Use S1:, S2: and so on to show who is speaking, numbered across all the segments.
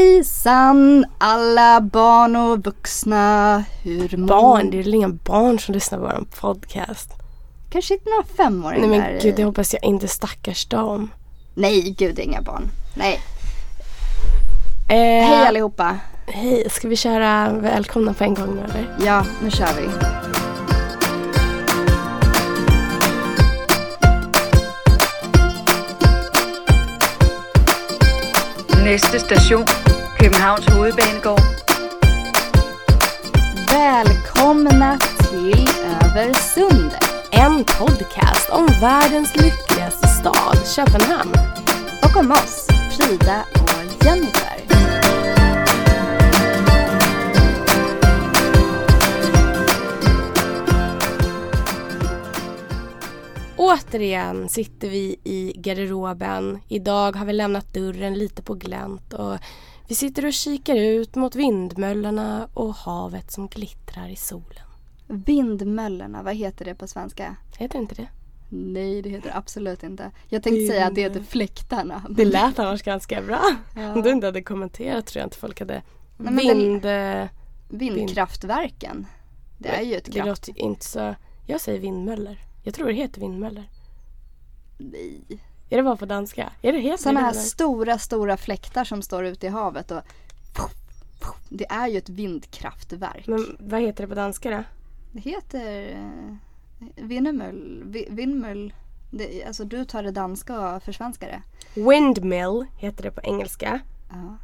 S1: Hejsan alla barn och vuxna. Hur mår
S2: Barn, det är väl inga barn som lyssnar på vår podcast.
S1: Kanske inte några femåringar.
S2: Nej men gud, det hoppas jag inte stackars dem.
S1: Nej, gud, inga barn. Nej.
S2: Eh,
S1: Hej allihopa.
S2: Hej, ska vi köra välkomna på en gång nu eller?
S1: Ja, nu kör vi.
S3: Næste station, Københavns Hovedbanegård.
S1: Välkomna till Över sundet
S2: En podcast om världens lyckligaste stad, Köpenhamn.
S1: och om oss, Frida och Jennifer.
S2: Återigen sitter vi i garderoben. Idag har vi lämnat dörren lite på glänt och vi sitter och kikar ut mot vindmöllorna och havet som glittrar i solen.
S1: Vindmöllorna, vad heter det på svenska?
S2: Heter det inte det?
S1: Nej, det heter det absolut inte. Jag tänkte säga att det heter fläktarna.
S2: Det lät annars ganska bra.
S1: Ja.
S2: Om du inte hade kommenterat tror jag inte folk hade
S1: Nej, men
S2: vind... eh,
S1: Vindkraftverken. Det är ju ett
S2: Det
S1: kraft...
S2: låter ju inte så... Jag säger vindmöller. Jag tror det heter vindmöller.
S1: Nej.
S2: Är det bara på danska? Är det helt
S1: Sådana här
S2: vindmöller?
S1: stora, stora fläktar som står ute i havet och det är ju ett vindkraftverk.
S2: Men vad heter det på danska då?
S1: Det heter eh, Vindmöll. vi- Vindmöll. Det, alltså du tar det danska och försvenskar det.
S2: Windmill heter det på engelska.
S1: Ja.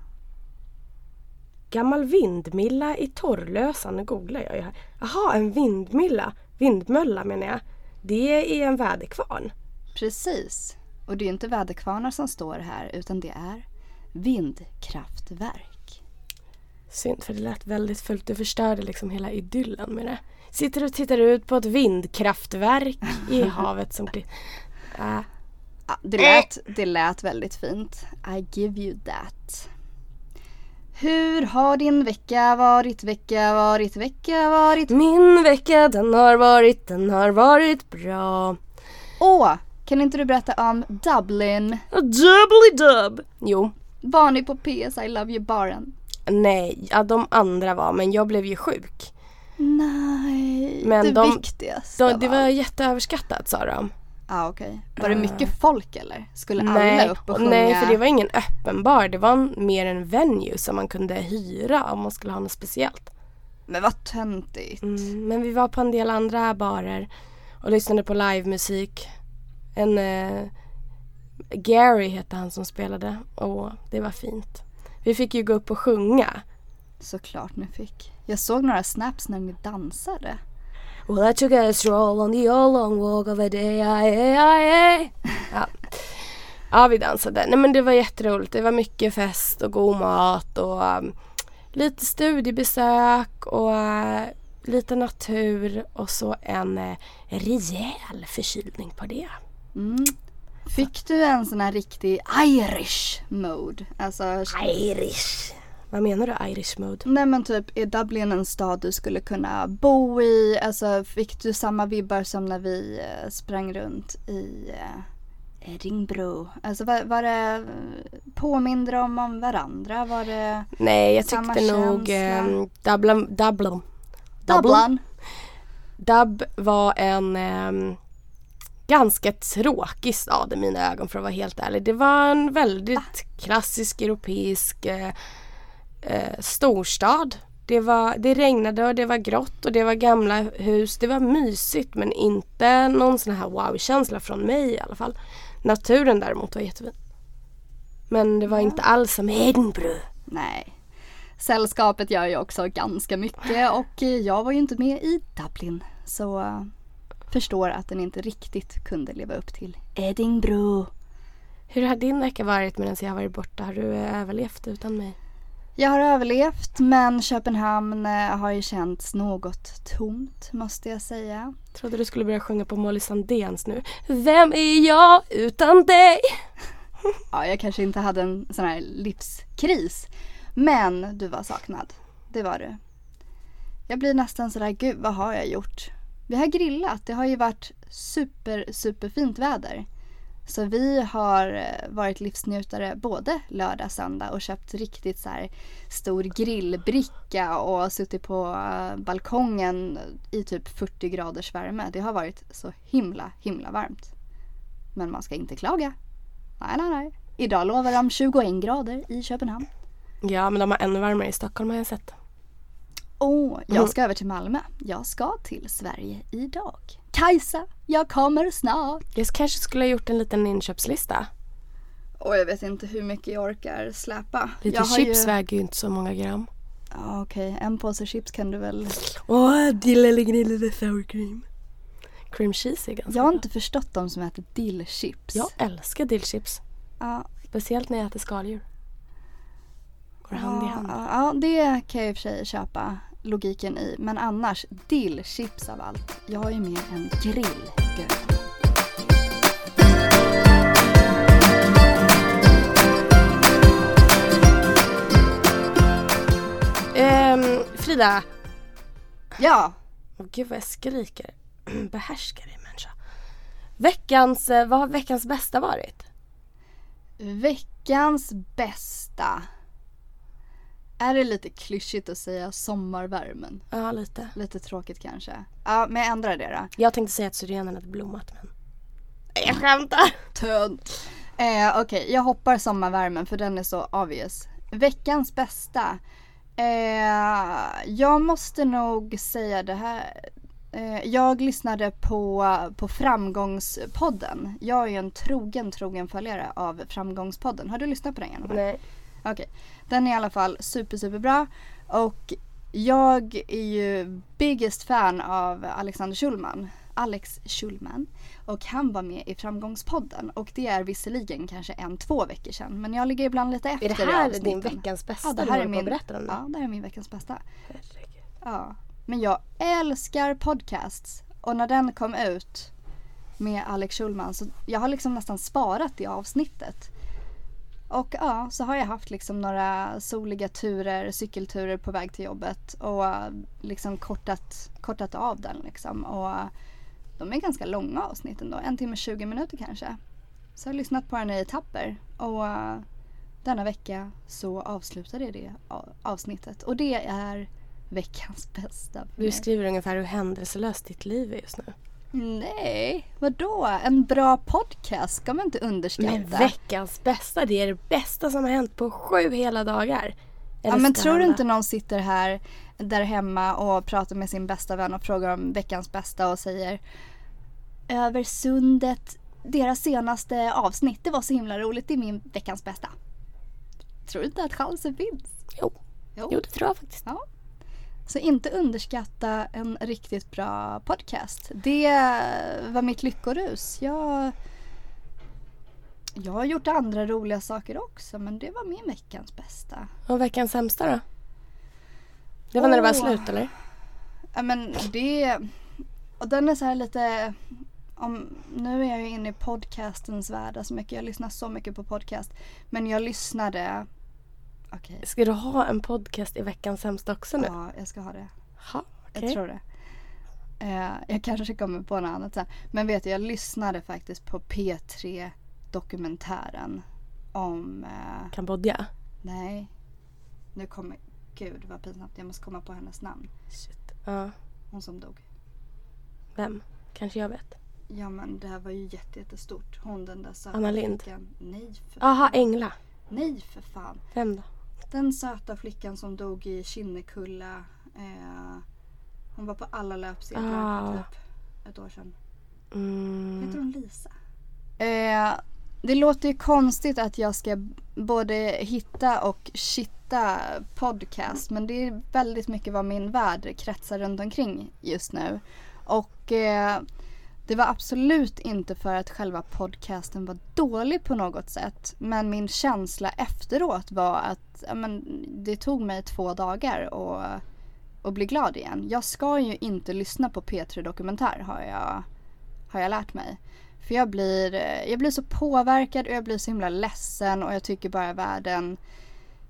S2: Gammal vindmilla i Torrlösa. Nu googlar jag ju här. Jaha, en vindmilla. Vindmölla menar jag. Det är en väderkvarn.
S1: Precis. Och det är ju inte väderkvarnar som står här utan det är vindkraftverk.
S2: Synd, för det lät väldigt fult. Du förstörde liksom hela idyllen med det. Sitter och tittar ut på ett vindkraftverk i havet som blir... Äh,
S1: Ah, det, lät, det lät väldigt fint. I give you that. Hur har din vecka varit, vecka varit, vecka varit?
S2: Min vecka den har varit, den har varit bra.
S1: Åh, kan inte du berätta om Dublin?
S2: Doubly dub. Jo.
S1: Var ni på PS I Love You-baren?
S2: Nej, ja, de andra var, men jag blev ju sjuk.
S1: Nej,
S2: Men
S1: det
S2: de-
S1: viktigaste
S2: De, det var jätteöverskattat sa de.
S1: Ah, okej. Var det mycket folk eller? Skulle
S2: nej,
S1: alla upp och sjunga?
S2: nej, för det var ingen öppen bar. Det var en, mer en venue som man kunde hyra om man skulle ha något speciellt.
S1: Men vad töntigt.
S2: Mm, men vi var på en del andra barer och lyssnade på livemusik. En eh, Gary hette han som spelade och det var fint. Vi fick ju gå upp och sjunga.
S1: Såklart ni fick. Jag såg några snaps när ni dansade.
S2: Well I took a stroll on the old long walk of a day, aye, aye, aye. Ja. ja, vi dansade. Nej men det var jätteroligt. Det var mycket fest och god mat och um, lite studiebesök och eh, lite natur och så en uh, rejäl förkylning på det.
S1: Mm. Fick du en sån här riktig Irish mode? Alltså,
S2: Irish. Vad menar du Irish mode?
S1: nej men typ är Dublin en stad du skulle kunna bo i? Alltså fick du samma vibbar som när vi eh, sprang runt i eh, Ringbro? Alltså var, var det, påminde de om varandra? Var det
S2: Nej jag
S1: Samma
S2: tyckte nog
S1: känsla.
S2: um, Dublin, Dublin.
S1: Dublin?
S2: Dub var en ehm, ganska tråkig stad i mina ögon för att vara helt ärlig. Det var en väldigt klassisk europeisk eh, eh, storstad. Det, var, det regnade och det var grått och det var gamla hus. Det var mysigt men inte någon sån här wow-känsla från mig i alla fall. Naturen däremot var jättefin. Men det var inte alls som Edinburgh.
S1: Nej. Sällskapet gör ju också ganska mycket och eh, jag var ju inte med i Dublin så eh, förstår att den inte riktigt kunde leva upp till eh, Edinburgh.
S2: Hur har din vecka varit medan jag har varit borta? Har du eh, överlevt utan mig?
S1: Jag har överlevt men Köpenhamn eh, har ju känts något tomt måste jag säga.
S2: Trodde du skulle börja sjunga på Molly Sandéns nu. Vem är jag utan dig?
S1: Ja, jag kanske inte hade en sån här livskris men du var saknad. Det var du. Jag blir nästan sådär, gud vad har jag gjort? Vi har grillat, det har ju varit super, superfint väder. Så vi har eh, varit livsnjutare både lördag, söndag och köpt riktigt så här stor grillbricka och suttit på eh, balkongen i typ 40 graders värme. Det har varit så himla, himla varmt. Men man ska inte klaga. Nej, nej, nej. Idag lovar de 21 grader i Köpenhamn.
S2: Ja men de har ännu varmare i Stockholm har jag sett.
S1: Åh, jag ska över till Malmö. Jag ska till Sverige idag. Kajsa, jag kommer snart.
S2: Jag kanske skulle ha gjort en liten inköpslista.
S1: Och jag vet inte hur mycket jag orkar släpa.
S2: Lite
S1: jag
S2: chips
S1: Ju...
S2: väger ju inte så många gram.
S1: Ja, Okej, en påse chips kan du väl...
S2: Åh, dill eller grillade sour cream. Cream cheese är ganska
S1: Jag har
S2: bra.
S1: inte förstått de som äter dillchips.
S2: Jag älskar dillchips.
S1: Ja,
S2: Speciellt när jag äter skaldjur. Går hand i hand.
S1: Ja, ja, det kan jag i och för sig köpa logiken i. Men annars, dillchips av allt. Jag är ju mer en grill. girl.
S2: Ehm, Frida.
S1: Ja,
S2: Åh, gud vad jag skriker. Behärska dig människa. Veckans, eh, vad har veckans bästa varit?
S1: veckans bästa. Är det lite klyschigt att säga sommarvärmen?
S2: Ja, lite.
S1: Lite tråkigt kanske. Ja, men jag ändrar det då.
S2: Jag tänkte säga att syrenerna hade blommat men. Nej, Jag skämtar.
S1: Tönt. Eh, Okej, jag hoppar sommarvärmen för den är så obvious. Veckans bästa. Eh, jag måste nog säga det här. Eh, jag lyssnade på, på Framgångspodden. Jag är ju en trogen, trogen följare av Framgångspodden. Har du lyssnat på den? Jennifer?
S2: Nej.
S1: Okej. Den är i alla fall super, super bra. Och jag är ju biggest fan av Alexander Schulman. Alex Schulman. Och han var med i Framgångspodden. Och det är visserligen kanske en, två veckor sedan. Men jag ligger ibland lite efter
S2: Är det
S1: i
S2: här
S1: avsnitten.
S2: din veckans bästa?
S1: Ja, det
S2: du
S1: här
S2: håller
S1: är
S2: på
S1: min,
S2: att berätta om det?
S1: ja, det här är min veckans bästa.
S2: Herregud.
S1: Ja. Men jag älskar podcasts. Och när den kom ut med Alex Schulman så jag har liksom nästan sparat det avsnittet. Och ja, så har jag haft liksom några soliga turer, cykelturer på väg till jobbet och eh, liksom kortat, kortat av den liksom. Och eh, de är ganska långa avsnitt ändå, en timme 20 minuter kanske. Så jag har lyssnat på den i etapper och eh, denna vecka så avslutade jag det a- avsnittet och det är veckans bästa. för
S2: Du
S1: mig.
S2: skriver ungefär hur händelselöst ditt liv är just nu.
S1: Nej, vadå? En bra podcast ska man inte underskatta.
S2: Men veckans bästa, det är det bästa som har hänt på sju hela dagar.
S1: Ja,
S2: Eller
S1: men
S2: ska
S1: tror du
S2: hända.
S1: inte någon sitter här där hemma och pratar med sin bästa vän och frågar om veckans bästa och säger Över sundet, deras senaste avsnitt, det var så himla roligt, det är min veckans bästa. Tror du inte att chansen finns?
S2: Jo.
S1: Jo.
S2: jo, det tror jag faktiskt.
S1: Ja. Så inte underskatta en riktigt bra podcast. Det var mitt lyckorus. Jag, jag har gjort andra roliga saker också men det var min veckans bästa.
S2: Och veckans sämsta då? Det var när det var
S1: Åh.
S2: slut eller?
S1: Ja men det... Och den är så här lite... Om, nu är jag ju inne i podcastens värld så mycket. Jag lyssnar så mycket på podcast. Men jag lyssnade... Okej.
S2: Ska du ha en podcast i veckans sämsta också nu?
S1: Ja, jag ska ha det.
S2: Ja,
S1: Jag
S2: okej.
S1: tror det. Eh, jag kanske kommer på något annat sen. Men vet du, jag lyssnade faktiskt på P3 dokumentären om... Eh,
S2: Kambodja?
S1: nej. Nu kommer... Gud vad pinsamt. Jag måste komma på hennes namn.
S2: Shit. Ja.
S1: Hon som dog.
S2: Vem? Kanske jag vet.
S1: Ja men det här var ju jätte, jättestort. Hon den där söta
S2: Anna Lindh.
S1: flickan. Nej för,
S2: Aha, Engla.
S1: nej för fan.
S2: Vem då?
S1: Den söta flickan som dog i Kinnekulla. Eh, hon var på alla löpsedlar
S2: Ah.
S1: för typ ett år sedan. Heter
S2: Mm.
S1: hon Lisa? Eh, det låter ju konstigt att jag ska både hitta och kitta podcast men det är väldigt mycket vad min värld kretsar runt omkring just nu. Och eh, det var absolut inte för att själva podcasten var dålig på något sätt men min känsla efteråt var att ja, men, det tog mig två dagar att, att bli glad igen. Jag ska ju inte lyssna på P3 Dokumentär har jag, har jag lärt mig. För jag blir, eh, jag blir så påverkad och jag blir så himla ledsen och jag tycker bara världen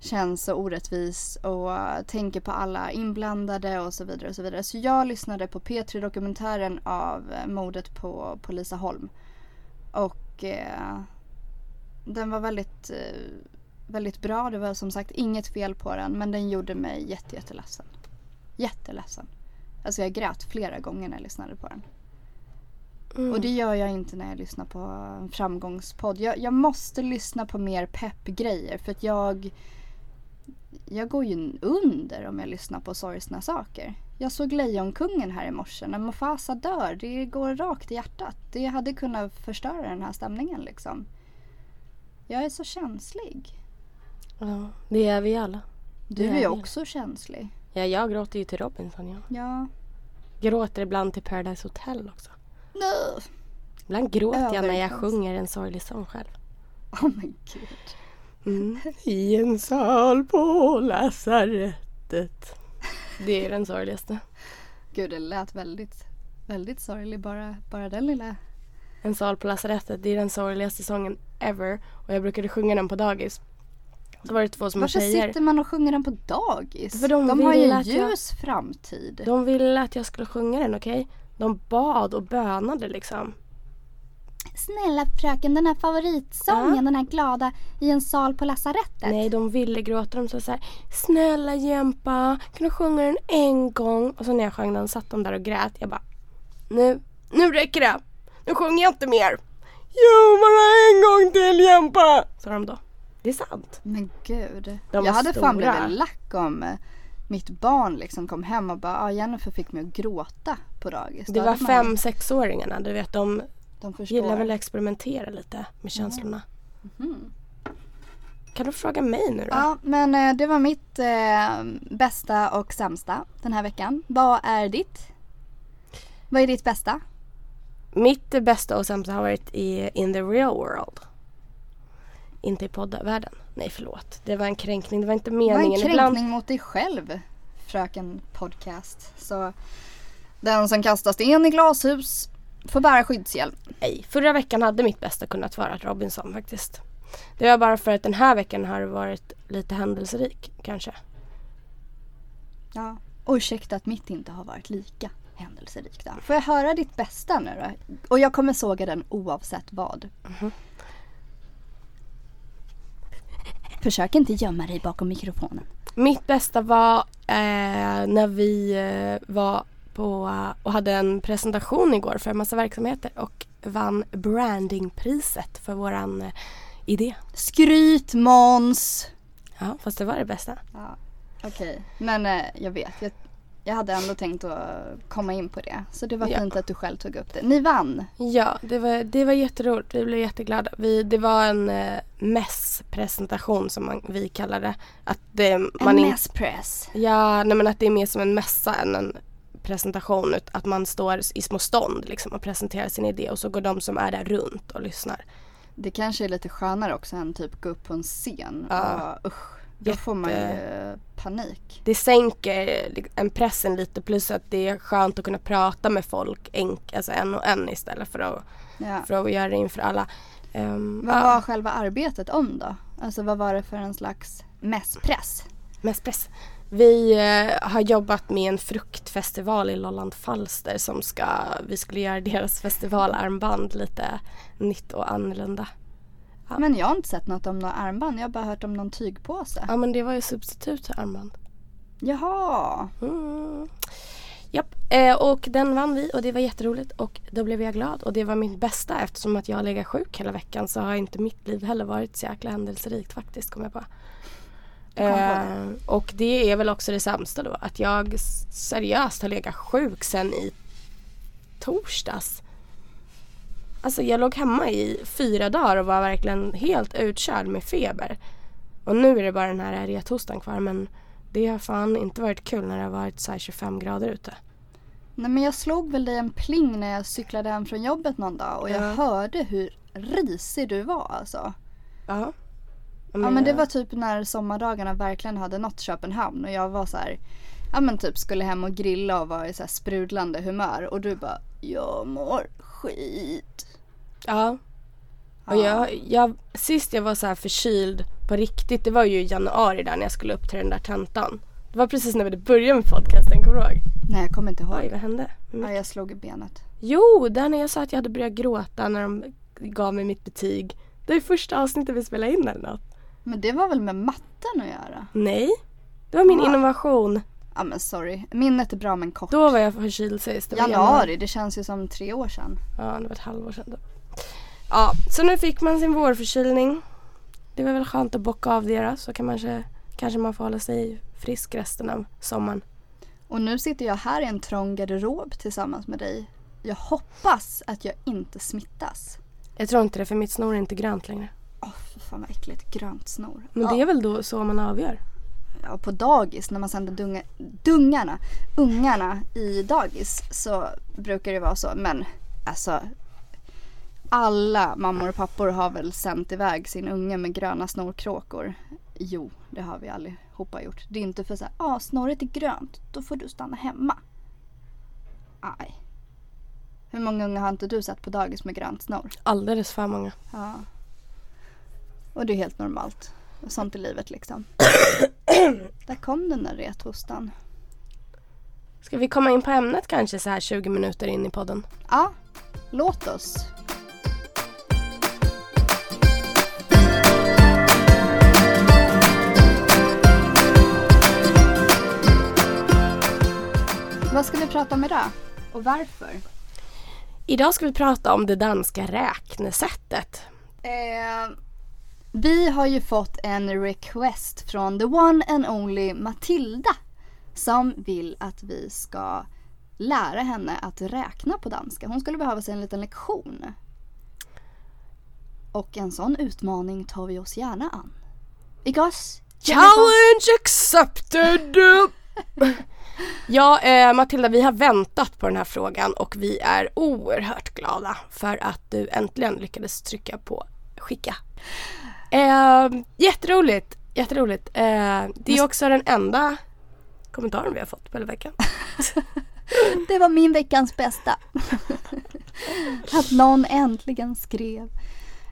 S1: känns så orättvis och eh, tänker på alla inblandade och så vidare och så vidare. Så jag lyssnade på P3 Dokumentären av eh, mordet på, på Lisa Holm. Och Och eh, den var väldigt, eh, väldigt bra. Det var som sagt inget fel på den men den gjorde mig jätte, jätteledsen. Jätteledsen. Alltså jag grät flera gånger när jag lyssnade på den.
S2: Mm.
S1: Och det gör jag inte när jag lyssnar på en framgångspodd. Jag, jag måste lyssna på mer peppgrejer för att jag... Jag går ju under om jag lyssnar på sorgsna saker. Jag såg Lejonkungen här i morse. När Mufasa dör, det går rakt i hjärtat. Det hade kunnat förstöra den här stämningen liksom. Jag är så känslig.
S2: ja, det är vi alla.
S1: Du
S2: Det är
S1: är ju
S2: jag.
S1: också känslig.
S2: Ja, jag gråter ju till Robinson. Jag
S1: Ja.
S2: gråter ibland till Paradise Hotel också.
S1: No.
S2: Ibland gråter jag när jag
S1: Överkonstigt.
S2: sjunger en sorglig sång själv.
S1: Oh my gud.
S2: Mm. I en sal på lasarettet. Det är den sorgligaste.
S1: Gud, det lät väldigt, väldigt sorglig bara, bara den lilla
S2: En sal på lasarettet, det är den sorgligaste sången ever. Och jag brukade sjunga den på dagis. Så var det två små
S1: Varför
S2: tjejer.
S1: sitter man och sjunger den på dagis?
S2: För de
S1: de har ju
S2: vill
S1: en
S2: att jag-
S1: ljus framtid.
S2: De ville att jag skulle sjunga den, okej? De bad och bönade liksom.
S1: Snälla fröken, den här favoritsången,
S2: Ja.
S1: den här glada i en sal på lasarettet.
S2: Nej, de ville gråta. De sa så här, snälla Jempa, kan du sjunga den en gång? Och så när jag sjöng den satt de där och grät. Jag bara, nu, nu räcker det. Nu sjunger jag inte mer. Jo, bara en gång till Jempa! Sa de då. Det är sant.
S1: Men gud.
S2: De
S1: jag
S2: var
S1: hade fan
S2: stora.
S1: blivit lack om eh, mitt barn liksom kom hem och bara ah, Jennifer fick mig att gråta på dagis. Då
S2: Det var
S1: hade man-
S2: fem sexåringarna, du vet de
S1: De förstår.
S2: gillar väl att experimentera lite med känslorna. Mm. Mhm. Kan du fråga mig nu då?
S1: Ja, men eh, det var mitt eh, bästa och sämsta den här veckan. Vad är ditt? Vad är ditt bästa?
S2: Mitt bästa och sämsta har varit i In the real world. Inte i poddvärlden. Nej förlåt. Det var en kränkning. Det var inte
S1: Det var en
S2: meningen.
S1: kränkning
S2: Ibland,
S1: mot dig själv, Fröken Podcast. Så den som kastar sten i glashus får bära skyddshjälm.
S2: nej, förra veckan hade mitt bästa kunnat vara Robinson faktiskt. Det var bara för att den här veckan har det varit lite händelserik kanske.
S1: Ja. Och ursäkta att mitt inte har varit lika händelserikt. då. Får jag höra ditt bästa nu då? Och jag kommer såga den oavsett vad.
S2: Mhm.
S1: Försök inte gömma dig bakom mikrofonen.
S2: Mitt bästa var eh, när vi eh, var på eh, och hade en presentation igår för en massa verksamheter och vann brandingpriset för våran eh, idé.
S1: Skryt Måns!
S2: Ja, fast det var det bästa.
S1: Ja, Okej, men eh, jag vet. Jag, jag hade ändå tänkt att komma in på det. Så det var
S2: Ja.
S1: fint att du själv tog upp det. Ni vann!
S2: Ja, det var, det var jätteroligt. Vi blev jätteglada. Vi, det var en eh, mässpresentation som man, vi kallar det. Att det, man
S1: en
S2: in-
S1: mass press.
S2: ja, nej, men att det är mer som en mässa än en presentation. Ut- Att man står i små stånd liksom, och presenterar sin idé och så går de som är där runt och lyssnar.
S1: Det kanske är lite skönare också än typ gå upp på en scen
S2: Ja.
S1: och usch. Då får man ju panik.
S2: Det sänker eh, en pressen lite plus att det är skönt att kunna prata med folk enk, alltså en och en istället för att,
S1: Ja.
S2: för att göra det inför alla. Um,
S1: Vad var själva arbetet om då? Alltså vad var det för en slags mässpress?
S2: Mest press. Vi eh, har jobbat med en fruktfestival i Lolland Falster som ska, vi skulle göra deras festivalarmband lite nytt och annorlunda. Ja.
S1: Men jag har inte sett något om något armband. Jag har bara hört om någon tygpåse.
S2: Ja men det var ju substitut till armband.
S1: Jaha!
S2: Mm. Japp. Eh, och den vann vi och det var jätteroligt och då blev jag glad och det var mitt bästa eftersom att jag har legat sjuk hela veckan så har inte mitt liv heller varit så jäkla händelserikt faktiskt kom jag på.
S1: kom på
S2: Eh, och det är väl också det sämsta då att jag s- seriöst har legat sjuk sen i torsdags. Alltså jag låg hemma i fyra dagar och var verkligen helt utkörd med feber. Och nu är det bara den här rethostan kvar men det har fan inte varit kul när det har varit så här 25 grader ute.
S1: Nej men jag slog väl dig en pling när jag cyklade hem från jobbet någon dag och jag
S2: Ja.
S1: hörde hur risig du var alltså.
S2: Ja.
S1: Ja men det var typ när sommardagarna verkligen hade nått Köpenhamn och jag var så här, ja men typ skulle hem och grilla och var i så här sprudlande humör och du bara, jag mår skit.
S2: Ja. Och jag, jag, sist jag var så här förkyld på riktigt, det var ju i januari där när jag skulle upp till den där tentan. Det var precis när vi började med podcasten, kommer du ihåg?
S1: Nej jag kommer inte
S2: Oj,
S1: ihåg.
S2: vad hände? Mm.
S1: Ja, jag slog i benet.
S2: Jo, där när jag sa att jag hade börjat gråta när de gav mig mitt betyg. Det är första avsnittet vi spelade in eller något.
S1: Men det var väl med matten att göra?
S2: Nej, det var min
S1: Va?
S2: innovation.
S1: Ja men sorry, minnet är bra men kort.
S2: Då var jag förkyld sägs det. var
S1: Januari, det känns ju som tre år sedan.
S2: Ja, det var ett halvår sedan då. Ja, så nu fick man sin vårförkylning. Det var väl skönt att bocka av det då, så kan man kanske, kanske man får hålla sig frisk resten av sommaren.
S1: Och nu sitter jag här i en trång garderob tillsammans med dig. Jag hoppas att jag inte smittas.
S2: Jag tror inte det, för mitt snor är inte grönt längre.
S1: Åh fy fan vad äckligt, grönt snor.
S2: Men det är väl då så man avgör?
S1: ja, på dagis när man sänder dunga, dungarna, ungarna i dagis så brukar det vara så. Men alltså alla mammor och pappor har väl sänt iväg sin unge med gröna snorkråkor. Jo, det har vi allihopa gjort. Det är inte för så här, ah, snorret är grönt, då får du stanna hemma. Nej. Hur många unga har inte du sett på dagis med grönt snor?
S2: Alldeles för många.
S1: Ja. Och det är helt normalt. Sånt i livet liksom. Där kom den där rethostan.
S2: Ska vi komma in på ämnet kanske så här 20 minuter in i podden?
S1: Ja, låt oss. Vad ska vi prata om idag? Och varför?
S2: Idag ska vi prata om det danska räknesättet.
S1: Eh, vi har ju fått en request från the one and only Matilda som vill att vi ska lära henne att räkna på danska. Hon skulle behöva sig en liten lektion. Och en sån utmaning tar vi oss gärna an. Igas?
S2: Challenge accepted! ja, eh, Matilda, vi har väntat på den här frågan och vi är oerhört glada för att du äntligen lyckades trycka på skicka. Eh, jätteroligt, jätteroligt. Eh, det är också den enda kommentaren vi har fått på hela veckan.
S1: Det var min veckans bästa. Att någon äntligen skrev.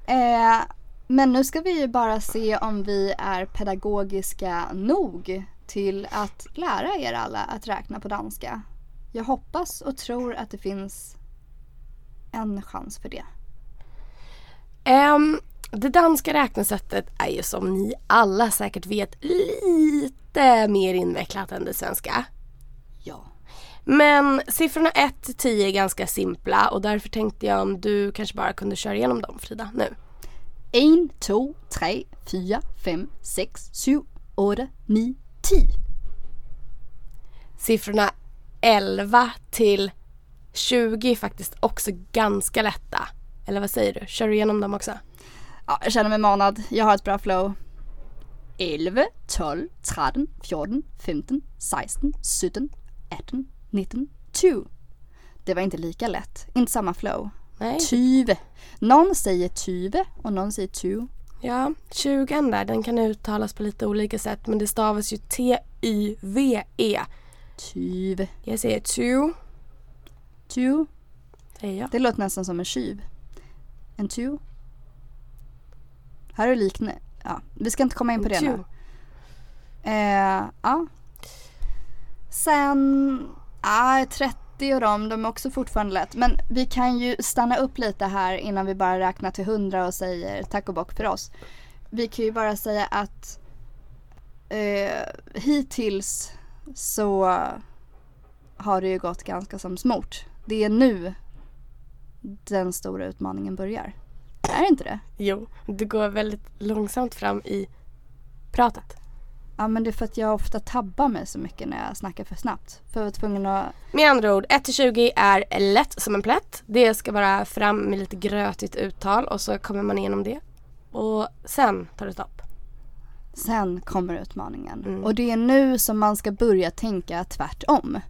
S1: Eh, men nu ska vi ju bara se om vi är pedagogiska nog till att lära er alla att räkna på danska. Jag hoppas och tror att det finns en chans för det.
S2: Ehm, det danska räknesättet är ju som ni alla säkert vet lite mer invecklat än det svenska.
S1: Ja.
S2: Men siffrorna 1 till 10 är ganska simpla och därför tänkte jag om du kanske bara kunde köra igenom dem Frida nu.
S1: 1, 2, 3, 4, 5, 6, 7, 8, 9, 10.
S2: Siffrorna 11 till 20 är faktiskt också ganska lätta. Eller vad säger du? Kör du igenom dem också?
S1: Ja, jag känner mig manad. Jag har ett bra flow. 11, 12, 13, 14, 15, 16, 17, 18, 19, 20. Det var inte lika lätt. Inte samma flow.
S2: Nej.
S1: Tyve. Någon säger tyve och någon säger tu.
S2: Ja, 20 där den kan uttalas på lite olika sätt men det stavas ju T-Y-V-E.
S1: Tyve.
S2: E. Jag säger two,
S1: Tu.
S2: säger jag.
S1: Det låter nästan som en tjuv. En tu. Här är liknande. Ja, vi ska inte komma in på det
S2: Two.
S1: nu. Eh, ja. Sen, ah, 30 och de, de är också fortfarande lätt. Men vi kan ju stanna upp lite här innan vi bara räknar till 100 och säger tack och bock för oss. Vi kan ju bara säga att eh, hittills så har det ju gått ganska som smort. Det är nu den stora utmaningen börjar. Är det inte det?
S2: Jo, du går väldigt långsamt fram i pratet.
S1: Ja men det är för att jag ofta tabbar mig så mycket när jag snackar för snabbt. För jag var tvungen att
S2: Med andra ord, 1-20 är lätt som en plätt. Det ska vara fram med lite grötigt uttal och så kommer man igenom det. Och sen tar det stopp.
S1: Sen kommer utmaningen. Och det är nu som man ska börja tänka tvärtom.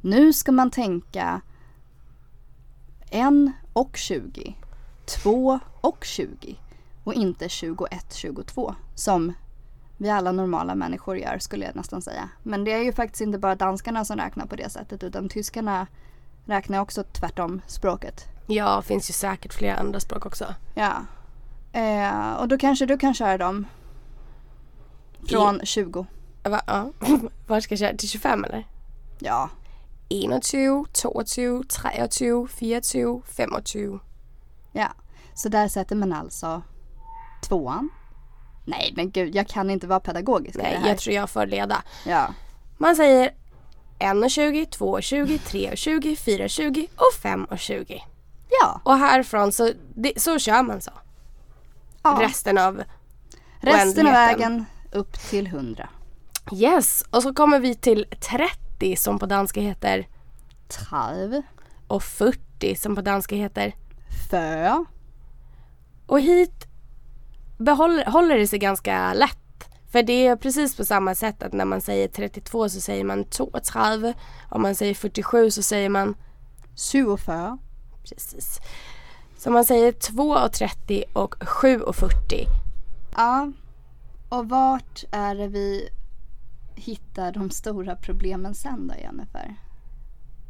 S1: Nu ska man tänka 1 och 20, 2 och 20 och inte 21, 22 som vi alla normala människor gör skulle jag nästan säga. Men det är ju faktiskt inte bara danskarna som räknar på det sättet utan tyskarna räknar också tvärtom språket.
S2: Ja, finns ju säkert flera andra språk också.
S1: Ja. Eh, och då kanske du kan köra dem från 20.
S2: Va, ja. Var ska jag köra? Till 25 eller?
S1: Ja,
S2: 21, 22, 23, 24, 25.
S1: Ja. Så där sätter man alltså tvåan. Nej men gud, jag kan inte vara pedagogisk i det
S2: Nej,
S1: här.
S2: jag tror jag får leda.
S1: Ja.
S2: Man säger 1,20, 2,20, 3,20, 4,20 och 5,20.
S1: Ja.
S2: Och härifrån så, det, så kör man så.
S1: ja.
S2: Resten av
S1: Resten av
S2: oändligheten.
S1: vägen upp till 100.
S2: Yes, och så kommer vi till 30 som på danska heter
S1: Trav.
S2: och 40 som på danska heter.
S1: Fö.
S2: Och hit behåller, håller det sig ganska lätt. För det är precis på samma sätt att när man säger 32 så säger man 32. Om man säger 47 så säger man
S1: Suofö.
S2: precis. Så man säger 2 och 30 och 7 och 40.
S1: Ja. Och vart är det vi hittar de stora problemen sen då, Jennifer?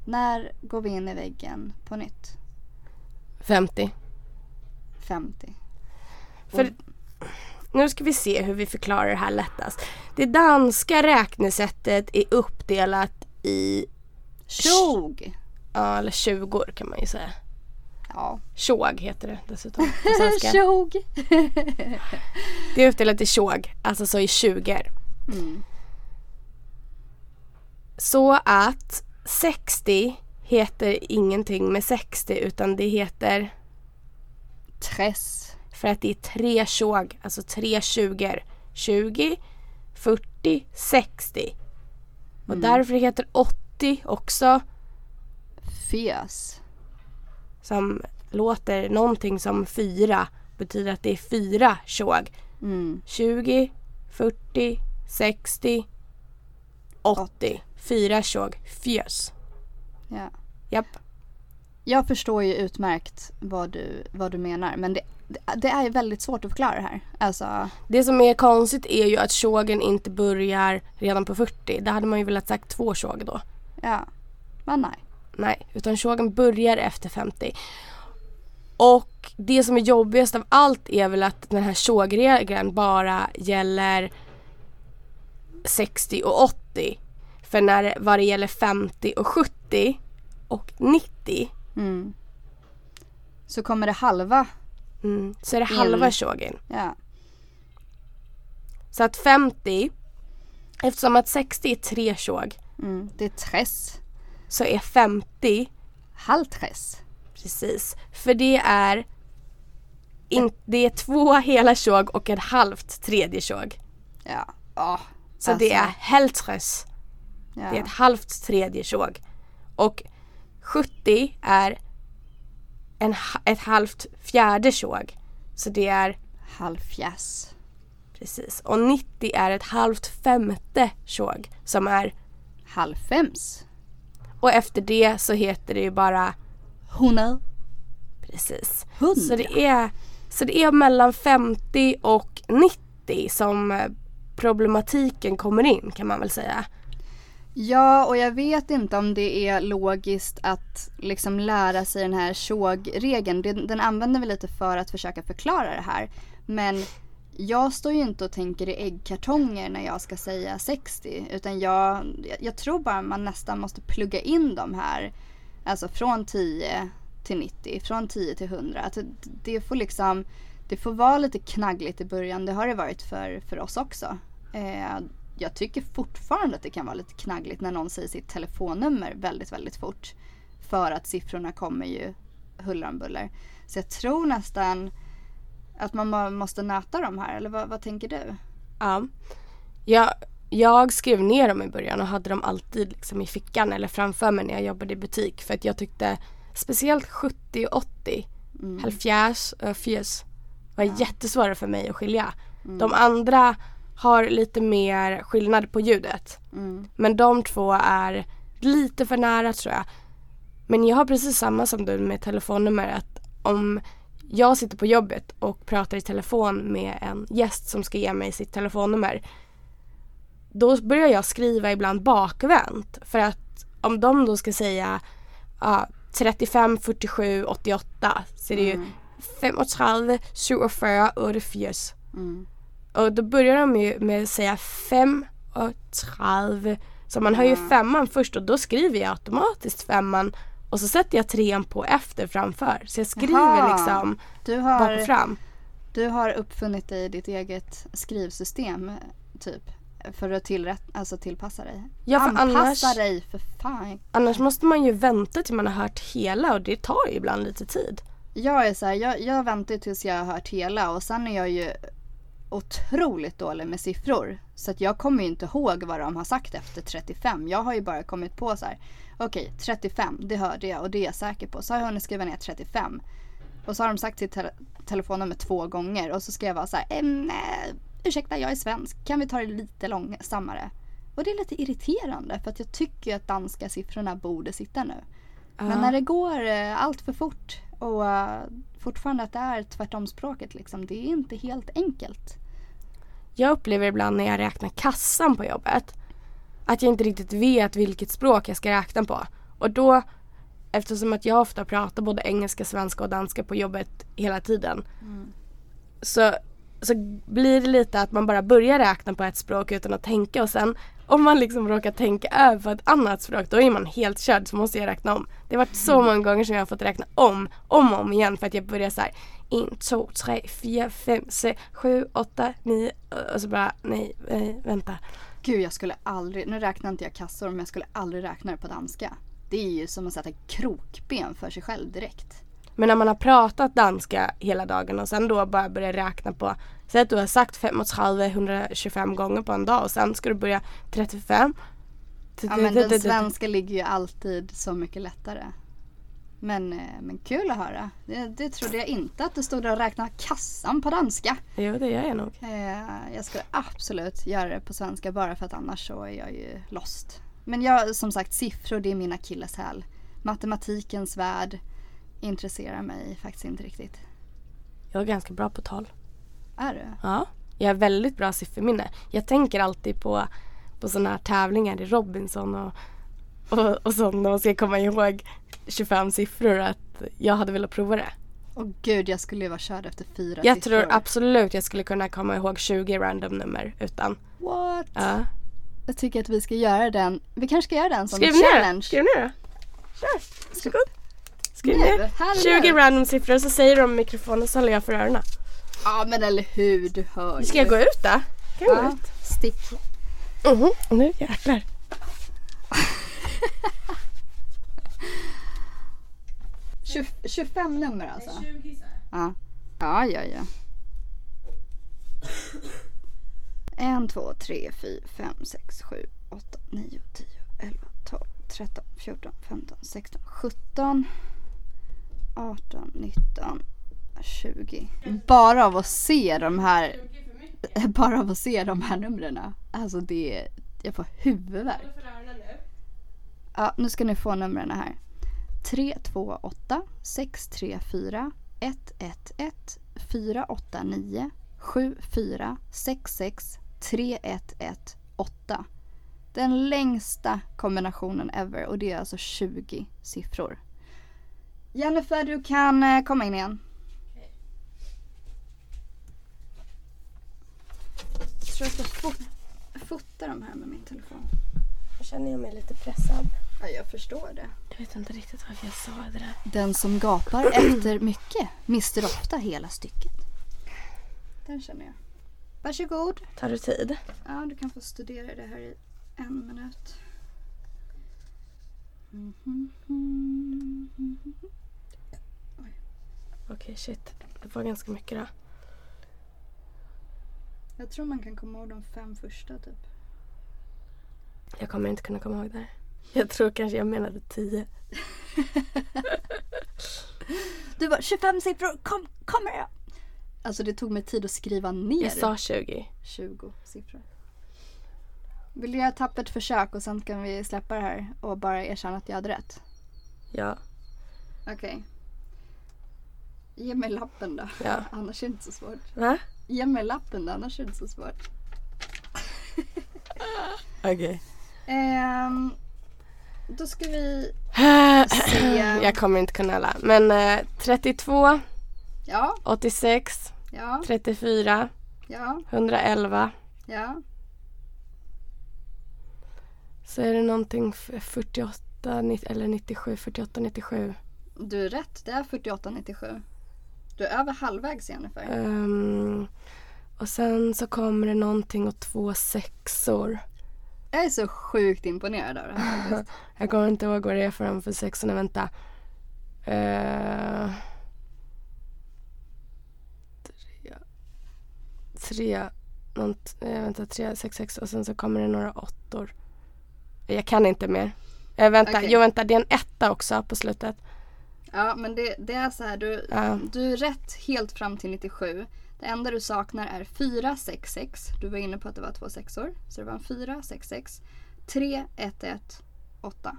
S1: När går vi in i väggen på nytt?
S2: 50.
S1: 50.
S2: För nu ska vi se hur vi förklarar det här lättast. Det danska räknesättet är uppdelat i
S1: 20!
S2: Ja, eller 20 kan man ju säga.
S1: Ja.
S2: Tjog heter det dessutom på svenska.
S1: Tjog!
S2: Det är uppdelat i tjog, alltså så i 20
S1: Mm.
S2: Så att 60 heter ingenting med 60 utan det heter
S1: Tress.
S2: för att det är tre tjog, alltså tre 20 20, 40, 60. Och
S1: Mm.
S2: därför heter 80 också
S1: Fes.
S2: som låter någonting som fyra betyder att det är fyra tjog.
S1: Mm.
S2: 20, 40, 60, 80. Fyra tjog, fjös.
S1: Ja.
S2: Japp.
S1: Jag förstår ju utmärkt vad du, vad du menar men det, det- det är ju väldigt svårt att förklara det här. Alltså,
S2: Det som är konstigt är ju att tjogen inte börjar redan på 40. Där hade man ju velat sagt två tjog då.
S1: ja. Men nej.
S2: Nej, utan tjogen börjar efter 50. Och det som är jobbigast av allt är väl att den här tjogregeln bara gäller 60 och 80. För när, vad det gäller 50 och 70 och 90
S1: Mm. Så kommer det halva.
S2: Mm. Så är det
S1: In.
S2: halva tjogen.
S1: Ja.
S2: Så att 50, eftersom att 60 är tre tjog,
S1: Mm. Det är tress.
S2: så är 50
S1: Halvtress.
S2: precis. För det är, in, det är två hela tjog och en halvt tredje tjog.
S1: Ja. Oh.
S2: Så det är hältres,
S1: Alltså, Ja.
S2: det är ett halvt tredje tjog. Och 70 är en, ha- ett halvt fjärde tjog. Så det är
S1: Halvfjäs.
S2: precis. Och 90 är ett halvt femte tjog som är
S1: Halvfems.
S2: Och efter det så heter det ju bara
S1: Hundra.
S2: precis.
S1: Hundra.
S2: Så det är, så det är mellan 50 och 90 som eh, problematiken kommer in kan man väl säga.
S1: Ja, och jag vet inte om det är logiskt att liksom lära sig den här tjogregeln. Den, den använder vi lite för att försöka förklara det här. Men jag står ju inte och tänker i äggkartonger när jag ska säga 60. Utan jag, jag tror bara man nästan måste plugga in de här. Alltså från 10 till 90, från 10 till 100. Att det, det får liksom, det får vara lite knaggligt i början. Det har det varit för, för oss också. Eh, jag tycker fortfarande att det kan vara lite knaggligt när någon säger sitt telefonnummer väldigt, väldigt fort. För att siffrorna kommer ju huller om buller. Så jag tror nästan att man må- måste nöta de här, eller vad, vad tänker du?
S2: Ja. Jag, jag skrev ner dem i början och hade dem alltid liksom i fickan eller framför mig när jag jobbade i butik för att jag tyckte speciellt 70 och 80, mm. halvfjärs och fjös var jättesvåra för mig att skilja. De andra har lite mer skillnad på ljudet.
S1: Mm.
S2: Men de två är lite för nära tror jag. Men jag har precis samma som du med telefonnummer att om jag sitter på jobbet och pratar i telefon med en gäst som ska ge mig sitt telefonnummer. Då börjar jag skriva ibland bakvänt för att om de då ska säga ja, 35, 47, 88 så är det ju 35, 24, 84.
S1: Mm.
S2: Och då börjar de ju med att säga fem och 30. Så man hör ju femman först och då skriver jag automatiskt femman Och så sätter jag trean på efter framför. Så jag skriver
S1: Jaha.
S2: liksom
S1: Du
S2: bak och
S1: har,
S2: fram.
S1: du har uppfunnit dig ditt eget skrivsystem typ. För att tillrätt, alltså tillpassa dig.
S2: Ja, för
S1: Anpassa
S2: annars-
S1: dig för fan.
S2: Annars måste man ju vänta till man har hört hela och det tar ju ibland lite tid.
S1: Jag är så här, jag, jag väntar tills jag har hört hela och sen är jag ju otroligt dålig med siffror. Så att jag kommer ju inte ihåg vad de har sagt efter 35. Jag har ju bara kommit på så här. Okej, 35, det hörde jag och det är jag säker på. Så har jag hunnit skriva ner 35. Och så har de sagt sitt te- telefonnummer två gånger och så ska jag vara så här. Ehm, eh, ursäkta, jag är svensk. Kan vi ta det lite långsammare? Och det är lite irriterande för att jag tycker ju att danska siffrorna borde sitta nu. Men när det går eh, allt för fort och eh, fortfarande att det är tvärtom språket liksom, det är inte helt enkelt.
S2: Jag upplever ibland när jag räknar kassan på jobbet att jag inte riktigt vet vilket språk jag ska räkna på. Och då, eftersom att jag ofta pratar både engelska, svenska och danska på jobbet hela tiden så, så blir det lite att man bara börjar räkna på ett språk utan att tänka och sen om man liksom råkar tänka över på ett annat språk då är man helt körd så måste jag räkna om. Det har varit
S1: Mm.
S2: så många gånger som jag har fått räkna om, om och om igen för att jag börjar så här 1, 2, 3, 4, 5, 6, 7, 8, 9 och så bara nej, nej, vänta.
S1: Gud, jag skulle aldrig, nu räknar inte jag kassor, men jag skulle aldrig räkna det på danska. Det är ju som att sätta krokben för sig själv direkt.
S2: Men när man har pratat danska hela dagen och sen då bara börjar räkna på Säg att du har sagt 35 125 gånger på en dag och sen ska du börja 35
S1: Ja, men den svenska ligger ju alltid så mycket lättare. Men, eh, men kul att höra. Det, det trodde jag inte att du stod där och räknade kassan på danska.
S2: Jo det gör jag nog.
S1: Eh, jag skulle absolut göra det på svenska bara för att annars så är jag ju lost. Men jag, som sagt, siffror det är min akilleshäl. Matematikens värld intresserar mig faktiskt inte riktigt.
S2: Jag är ganska bra på tal.
S1: Är du?
S2: Ja. Jag har väldigt bra sifferminne. Jag tänker alltid på, på sådana här tävlingar i Robinson och, och, och sånt när man ska komma ihåg 25 siffror att jag hade velat prova det.
S1: Och gud, jag skulle ju vara körd efter fyra
S2: Jag
S1: siffror.
S2: tror absolut jag skulle kunna komma ihåg 20 random nummer utan.
S1: What?
S2: Ja.
S1: Jag tycker att vi ska göra den. Vi kanske ska göra den som
S2: Skriv ner
S1: challenge.
S2: Skriv ner då. Kör. Varsågod. Skriv
S1: Nu,
S2: ner.
S1: här och
S2: 20
S1: nu.
S2: random siffror så säger de i mikrofonen så håller jag för öronen.
S1: Ja, men eller hur, du hör ju.
S2: Ska jag gå ut då? Kan jag gå
S1: Ja,
S2: ut?
S1: stick.
S2: Mhm, nu jäklar.
S1: Tju- 25 nummer alltså? 20 ja. ja, ja, ja. 1, 2, 3, 4, 5, 6, 7, 8, 9, 10, 11, 12, 13, 14, 15, 16, 17, 18, 19, 20. Bara av att se de här bara av att se de här numren. Alltså det är, jag får huvudvärk. Ja, nu ska ni få numren här. 328 634 111 489 74 66 311 8. Den längsta kombinationen ever och det är alltså 20 siffror. Jennifer, du kan eh, komma in igen. Jag tror jag ska fot- fota de här med min telefon.
S2: Nu känner jag mig lite pressad.
S1: Ja, jag förstår det.
S2: Jag vet inte riktigt varför jag sa det där.
S1: Den som gapar efter mycket mister ofta hela stycket. Den känner jag. Varsågod.
S2: Tar du tid?
S1: Ja, du kan få studera det här i en minut. Mm-hmm.
S2: Okej, shit. Det var ganska mycket då.
S1: Jag tror man kan komma ihåg de fem första typ.
S2: Jag kommer inte kunna komma ihåg det här. Jag tror kanske jag menade 10.
S1: Du var 25 siffror, kom, kommer jag! Alltså det tog mig tid att skriva ner
S2: Jag sa 20.
S1: 20 siffror. Vill du göra ett tappert försök och sen kan vi släppa det här och bara erkänna att jag hade rätt?
S2: Ja,
S1: Okej. Ge mig lappen då.
S2: ja.
S1: Annars är det inte så svårt.
S2: Va?
S1: Ge mig lappen då, annars är det inte så svårt.
S2: Okej.
S1: Ehm, då ska vi... Se.
S2: jag kommer inte kunna alla. Men eh, 32,
S1: Ja,
S2: 86,
S1: ja,
S2: 34,
S1: ja,
S2: 111.
S1: ja.
S2: Så är det någonting f- 48. 48 ni- eller 97, 48, 97.
S1: Du är rätt, det är 4897. Du är över halvvägs Jennifer.
S2: Ehm, och sen så kommer det någonting och två sexor.
S1: Jag är så sjukt imponerad av det här faktiskt.
S2: Jag kommer inte ihåg vad det är för dem för sexorna, vänta. Eh, tre, tre, nånt, eh, vänta, tre, sex, sex och sen så kommer det några åttor. Jag kan inte mer. Eh, vänta,
S1: Okej.
S2: jo vänta, det är en etta också på slutet.
S1: Ja men det, det är så här, du,
S2: Ja.
S1: du är rätt helt fram till 97. Det enda du saknar är 466. Du var inne på att det var två sexor. Så det var en 466. 3118.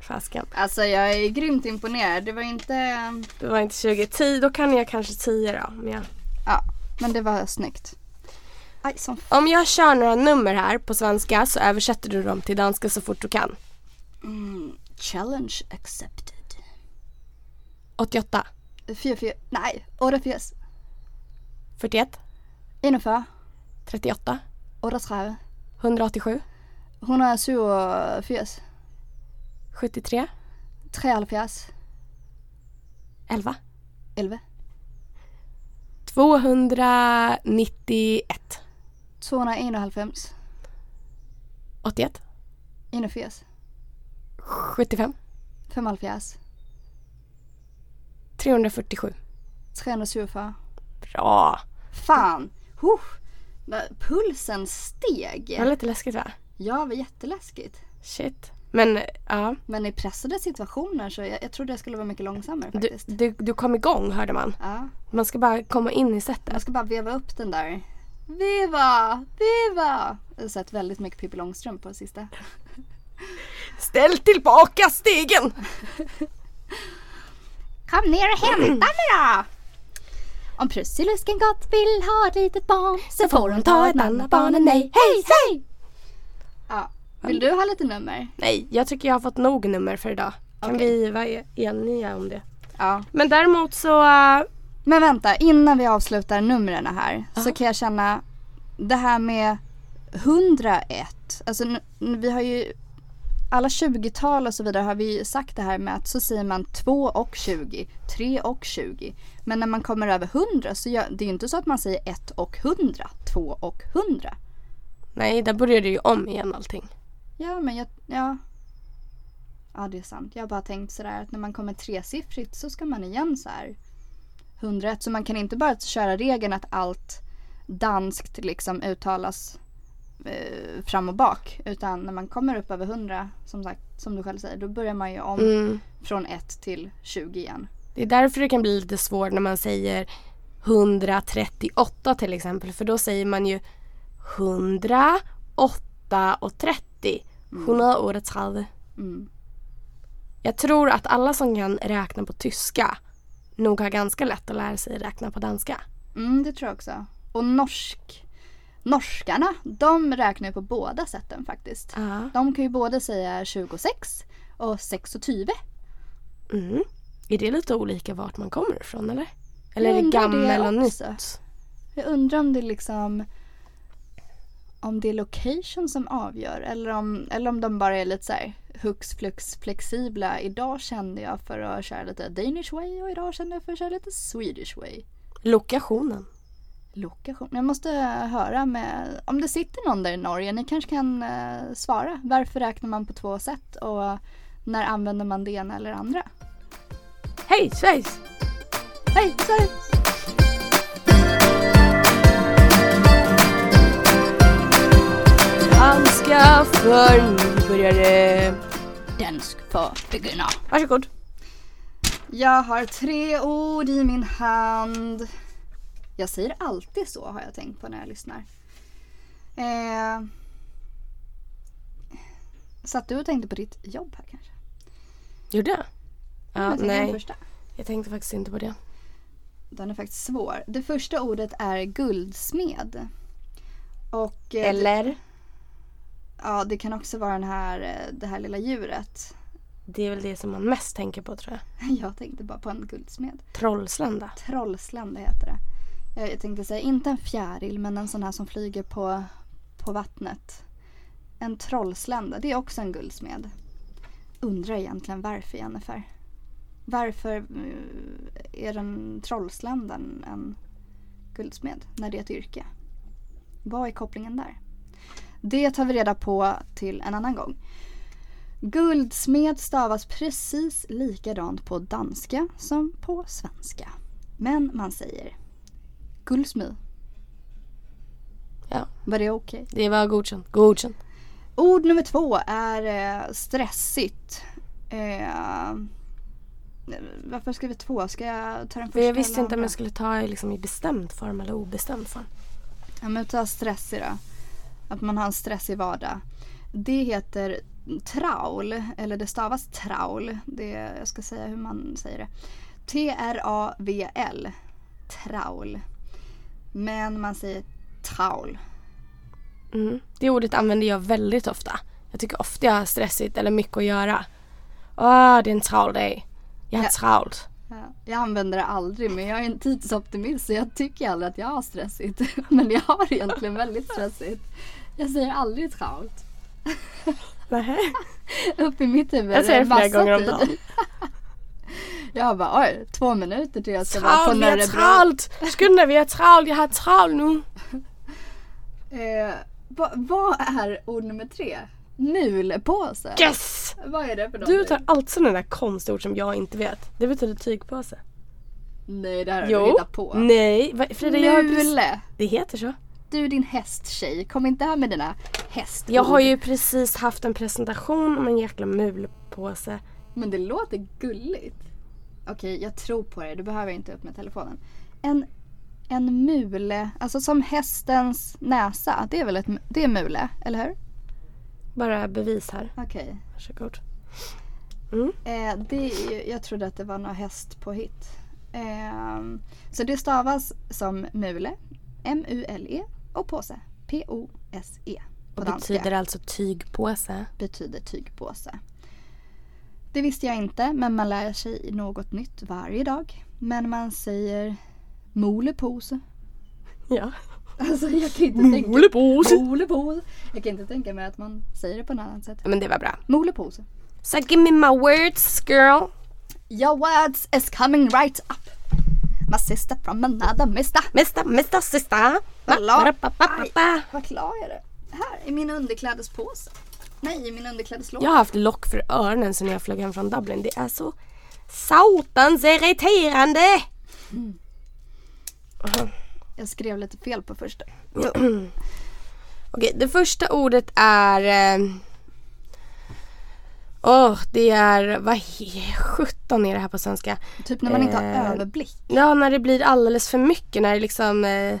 S2: Fasken.
S1: Alltså jag är grymt imponerad. Det var inte...
S2: Det var inte 20, 10, då kan jag kanske 10 då. Men jag...
S1: Ja, men det var snyggt. Aj, som f-
S2: Om jag kör några nummer här på svenska så översätter du dem till danska så fort du kan.
S1: mm, Challenge accepted.
S2: 88,
S1: 44... Nej, 84...
S2: 41,
S1: Innanför.
S2: 38,
S1: 38.
S2: 187,
S1: 147.
S2: 73,
S1: 73.
S2: 11.
S1: 11.
S2: 291,
S1: 251.
S2: 81,
S1: 41.
S2: 75,
S1: 75.
S2: 347.
S1: 324.
S2: Bra!
S1: Fan! Huh. Vad- Pulsen steg.
S2: Det var lite läskigt va?
S1: Ja, det var jätteläskigt.
S2: Shit. Men ja,
S1: Men i pressade situationer så jag, jag trodde jag skulle vara mycket långsammare
S2: du,
S1: faktiskt.
S2: du, du kom igång hörde man.
S1: Ja.
S2: Man ska bara komma in i
S1: Jag
S2: setet.
S1: ska bara veva upp den där. Viva! Viva! Jag har sett väldigt mycket Pippi Långstrump på sista.
S2: Ställ tillbaka stegen!
S1: Kom ner och hämta mig då! Om Prussilusken gott vill ha ett litet barn så får hon ta ett annat barn än mig. Hej, hej! Ja. Vill du ha lite nummer?
S2: Nej, jag tycker jag har fått nog nummer för idag. Kan
S1: Okej.
S2: vi vara e- eniga om det?
S1: Ja.
S2: Men däremot så... eh,
S1: Men vänta, innan vi avslutar numren här så kan jag känna det här med 101. Alltså nu- nu- vi har ju alla 20-tal och så vidare har vi ju sagt det här med att så säger man 2 och 20, 3 och 20. Men när man kommer över 100 så gör, det är ju inte så att man säger 1 och 100, 2 och 100.
S2: nej, där börjar det ju om igen allting.
S1: Ja, men jag, ja. Ja, det är sant. Jag har bara tänkt sådär att när man kommer tresiffrigt så ska man igen så här 101. Så man kan inte bara köra regeln att allt danskt liksom uttalas eh, fram och bak. Utan när man kommer upp över 100, som sagt, som du själv säger, då börjar man ju om
S2: Mm.
S1: från 1 till 20 igen.
S2: Det är därför det kan bli lite svårt när man säger 138 till exempel. För då säger man ju 108 och 30. Sjuna årets halv.
S1: Mm.
S2: Jag tror att alla som kan räkna på tyska nog har ganska lätt att lära sig räkna på danska.
S1: Mm, det tror jag också. Och norsk. Norskarna, de räknar ju på båda sätten faktiskt.
S2: Ja.
S1: De kan ju både säga 26 och 6 och 20.
S2: Mm. Är det lite olika vart man kommer ifrån eller? Eller är
S1: Jag
S2: det
S1: undrar det
S2: gammel och
S1: också.
S2: nytt?
S1: Jag undrar om det liksom om det är location som avgör eller om, eller om de bara är lite så här hux flux flexibla. Idag kände jag för att köra lite Danish way och idag kände jag för att köra lite Swedish way.
S2: Lokationen.
S1: Lokation. Jag måste höra med om det sitter någon där i Norge. Ni kanske kan eh, svara. Varför räknar man på två sätt och när använder man det ena eller andra?
S2: Hej Schweiz!
S1: Hej, sorry!
S2: Danska för nybörjare.
S1: Dansk för beginner.
S2: Varsågod.
S1: Jag har tre ord i min hand. Jag säger alltid så har jag tänkt på när jag lyssnar. Eh, satt du och tänkte på ditt jobb här kanske?
S2: Gjorde jag? Ja,
S1: jag tänker på den
S2: nej.
S1: Första.
S2: Jag tänkte faktiskt inte på det.
S1: Den är faktiskt svår. Det första ordet är guldsmed. Och, eh,
S2: Eller?
S1: Ja, det kan också vara den här, eh, det här lilla djuret.
S2: Det är väl det som man mest tänker på tror jag.
S1: Jag tänkte bara på en guldsmed.
S2: Trollslända.
S1: Trollslända heter det. Jag, jag tänkte säga inte en fjäril men en sån här som flyger på, på vattnet. En trollslända, det är också en guldsmed. undrar egentligen varför Jennifer. Varför eh, är den trollsländan en guldsmed när det är ett yrke? Vad är kopplingen där? Det tar vi reda på till en annan gång. Guldsmed stavas precis likadant på danska som på svenska. Men man säger guldsmed.
S2: Ja.
S1: Var det okej?
S2: Det var godkänt. Godkänt.
S1: Ord nummer två är eh, stressigt. Eh, varför ska vi två? Ska jag ta den
S2: För
S1: första?
S2: jag visste
S1: eller
S2: inte om
S1: andra?
S2: jag skulle ta i liksom i bestämd form eller obestämd form.
S1: Ja, men ta stress i då. Att man har en stressig vardag. Det heter traul, eller det stavas traul. Det, jag ska säga hur man säger det. T-R-A-V-L. Traul. Men man säger traul.
S2: Mm. Det ordet använder jag väldigt ofta. Jag tycker ofta jag har stressigt eller mycket att göra. Åh, det är en traul dag. Jag har
S1: Ja.
S2: trault.
S1: Ja, Jag använder det aldrig men jag är en tidsoptimist så jag tycker aldrig att jag har stressigt. Men jag har egentligen väldigt stressigt. Jag säger aldrig traut.
S2: Nähä.
S1: Upp i mitt huvud
S2: Jag säger
S1: är
S2: det flera
S1: massa
S2: gånger om
S1: tid.
S2: dagen.
S1: Jag bara oj, två minuter till jag ska vara på
S2: Traul, vi har
S1: Nörrebro.
S2: trault. Skynda dig, vi har trault. Jag har traul nu.
S1: Eh, va- vad är ord nummer tre? Mulpåse.
S2: Yes!
S1: Vad är det för
S2: Du
S1: någonting?
S2: tar alltid sådana där konstiga ord som jag inte vet. Det betyder tygpåse.
S1: Nej det här har du hittat på.
S2: Nej, va- Frida jag har ju precis...
S1: Mule.
S2: Det heter så.
S1: Du din hästtjej, kom inte här med dina hästord.
S2: Jag har ju precis haft en presentation om en jäkla mulpåse.
S1: Men det låter gulligt. Okej, jag tror på det. Du behöver inte upp med telefonen. En, en mule, alltså som hästens näsa. Det är väl ett det är mule, eller hur?
S2: Bara bevis här.
S1: Okej.
S2: Varsågod.
S1: Eh, det är ju- jag trodde att det var något hästpåhitt. Ehm, så det stavas som mule, M-U-L-E, E, och påse, P-O-S-E. E, På
S2: Och betyder alltså tygpåse.
S1: betyder tygpåse. Det visste jag inte, men man lär sig något nytt varje dag. Men man säger molepose.
S2: Ja.
S1: Alltså jag kan inte tänka...
S2: Molepose.
S1: Molepose. Jag kan inte tänka mig att man säger det på något annat sätt.
S2: Men det var bra.
S1: Molepose.
S2: So give me my words girl.
S1: Your words is coming right up. My sister from another mister.
S2: Mesta, mesta, sista.
S1: Hallå.
S2: Ba-ba-ba-ba-ba.
S1: Vad klar jag är det? Här, i min underklädespåse. Nej, i min underklädeslåda.
S2: Jag har haft lock för öronen sen jag flög hem från Dublin. Det är så satans irriterande.
S1: Mm. Jag skrev lite fel på första.
S2: Okej, det första ordet är... eh, Åh, det är... Vad he- sjutton är det här på svenska?
S1: Typ när man inte har
S2: Eh,
S1: överblick.
S2: Ja, när det blir alldeles för mycket. När det liksom... Eh,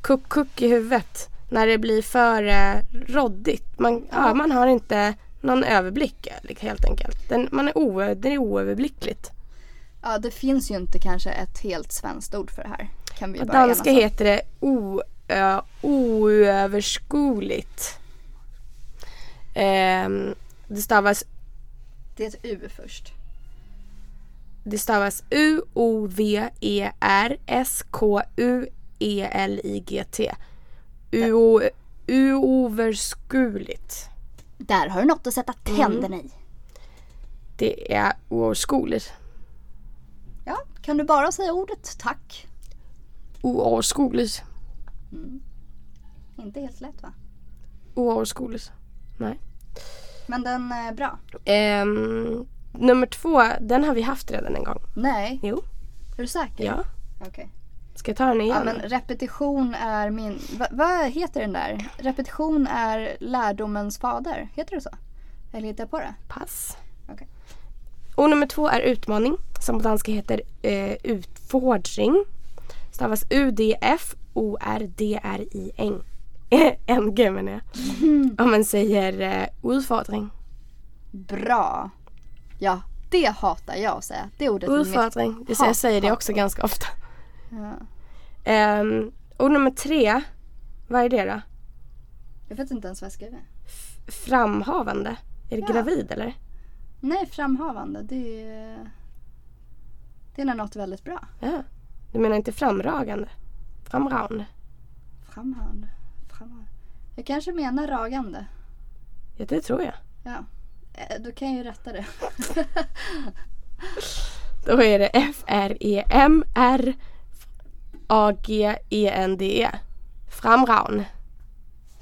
S2: kuck, kuck i huvudet. När det blir för eh, roddigt. Man, ja, man har inte någon överblick eh, helt enkelt. Den, man är o, det är oöverblickligt.
S1: Ja, det finns ju inte kanske ett helt svenskt ord för det här. Kan vi ju
S2: På
S1: bara
S2: danska
S1: enas om.
S2: heter det o, ö, oöverskogligt. Ehm, det stavas
S1: Det är ett U först.
S2: Det stavas E U-O-V-E-R-S-K-U-E-L-I-G-T. U-O- E Oöverskuligt.
S1: Där har du något att sätta tänderna
S2: Mm.
S1: i.
S2: Det är oöverskogligt.
S1: Ja, kan du bara säga ordet tack?
S2: E Oöverskogligt.
S1: Inte helt lätt va?
S2: Oöverskogligt. Nej.
S1: Men den är bra.
S2: Ehm, nummer två, den har vi haft redan en gång.
S1: Nej,
S2: Jo.
S1: är du säker?
S2: Ja.
S1: Okej.
S2: Ska jag ta den igen?
S1: Ja, men repetition är min... Va, vad heter den där? Repetition är lärdomens fader. Heter det så? Eller hittar jag på det?
S2: Pass.
S1: Okej.
S2: Ord nummer två är utmaning som på danska heter eh, utfordring. Stavas U-D-F-O-R-D-R-I-N. NG menar jag.
S1: Mhm.
S2: Om man säger eh, utfordring.
S1: Bra. Ja, det hatar jag att säga. Det ordet är mitt.
S2: Utfordring. Det, jag säger det också ganska ofta.
S1: Ja.
S2: Um, ord nummer tre. Vad är det då?
S1: Jag vet inte ens vad jag skriver.
S2: Framhavande. Är det
S1: Ja.
S2: gravid eller?
S1: Nej, framhavande. Det är, det är nog något väldigt bra.
S2: Ja. Du menar inte framragande? Framragande.
S1: Framhavande. framhavande. Jag kanske menar ragande.
S2: Ja, det tror jag.
S1: Ja. Eh, Du kan ju rätta det.
S2: Då är det E E F-R-E-M-R-A-G-E-N-D-E. Framraun. Är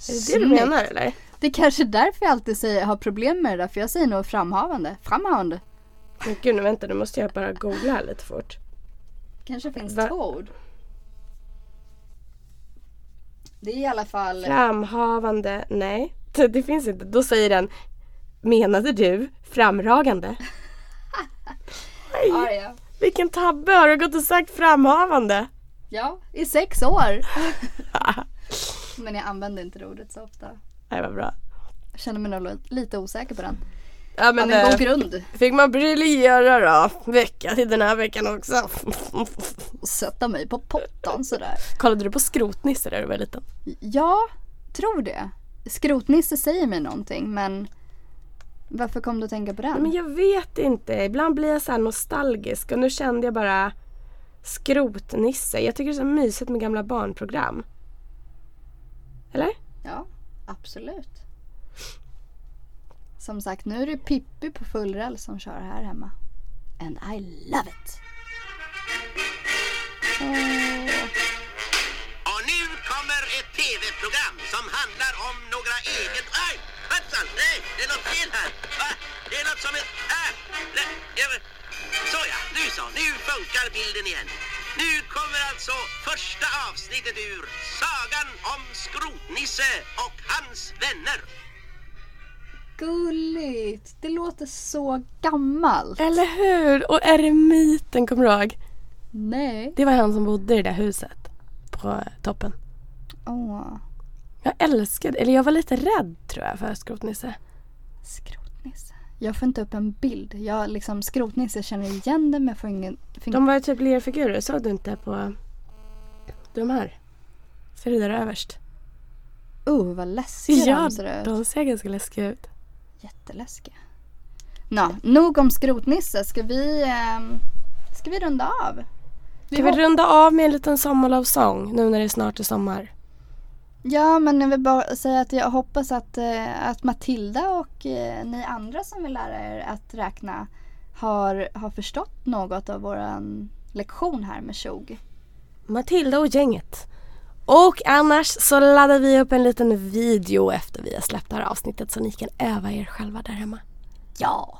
S2: det det du
S1: Snyggt.
S2: menar eller?
S1: Det är kanske är därför jag alltid säger, har problem med det där. För jag säger nog framhavande. Framhavande.
S2: Men gud nu vänta nu måste jag bara googla här lite fort.
S1: Kanske finns
S2: Va-
S1: två ord. Det är i alla fall...
S2: Framhavande, nej. Det, det finns inte. Då säger den Menade du framragande?
S1: Ah, ja.
S2: Vilken tabbe! Har du gått och sagt framhavande?
S1: ja, i sex år. Men jag använder inte det ordet så ofta.
S2: Nej vad bra.
S1: Jag känner mig nog li- lite osäker på den.
S2: Ja,
S1: Men,
S2: men,
S1: en
S2: eh,
S1: god grund.
S2: fick man briljera då? Vecka till den här veckan också.
S1: Och sätta mig på pottan sådär.
S2: Kollade du på Skrotnisse när du var liten?
S1: Ja, tror det. Skrotnisse säger mig någonting men varför kom du att tänka på den?
S2: Men jag vet inte. Ibland blir jag så här nostalgisk och nu kände jag bara Skrotnisse. Jag tycker det är så mysigt med gamla barnprogram. Eller?
S1: Ja, absolut. Som sagt, nu är det Pippi på full räls som kör här hemma. And I love it! Åh,
S4: Och nu kommer ett tv-program som handlar om några egen... Aj! Hoppsan! Nej, det är något fel här. Va? Det är något som är... Äh, nej, jag- Såja, nu så. Nu funkar bilden igen. Nu kommer alltså första avsnittet ur Sagan om Skrotnisse och hans vänner.
S1: gulligt! Det låter så gammalt.
S2: Eller hur? Och eremiten, kommer du ihåg?
S1: Nej.
S2: Det var han som bodde i det där huset på eh, toppen.
S1: Åh,
S2: Jag älskade, eller jag var lite rädd tror jag för Skrotnisse.
S1: skrotnisse. Jag får inte upp en bild. Jag liksom, skrotnisse känner igen det men jag får ingen... Får ingen...
S2: De var ju typ lerfigurer, såg du inte på de här? Ser du där överst?
S1: Oh, vad läskiga de ser ut.
S2: de ser ganska läskiga ut.
S1: Jätteläskiga. Nå, nog om skrotnisse. Ska vi, ehm, ska vi runda av?
S2: Ska vi runda av med en liten sommarlovsång nu när det snart är sommar?
S1: Ja, men jag vill bara säga att jag hoppas att, eh, att Matilda och eh, ni andra som vill lära er att räkna har, har förstått något av våran lektion här med tjog.
S2: Matilda och gänget. Och annars så laddar vi upp en liten video efter vi har släppt det här avsnittet så ni kan öva er själva där hemma.
S1: Ja!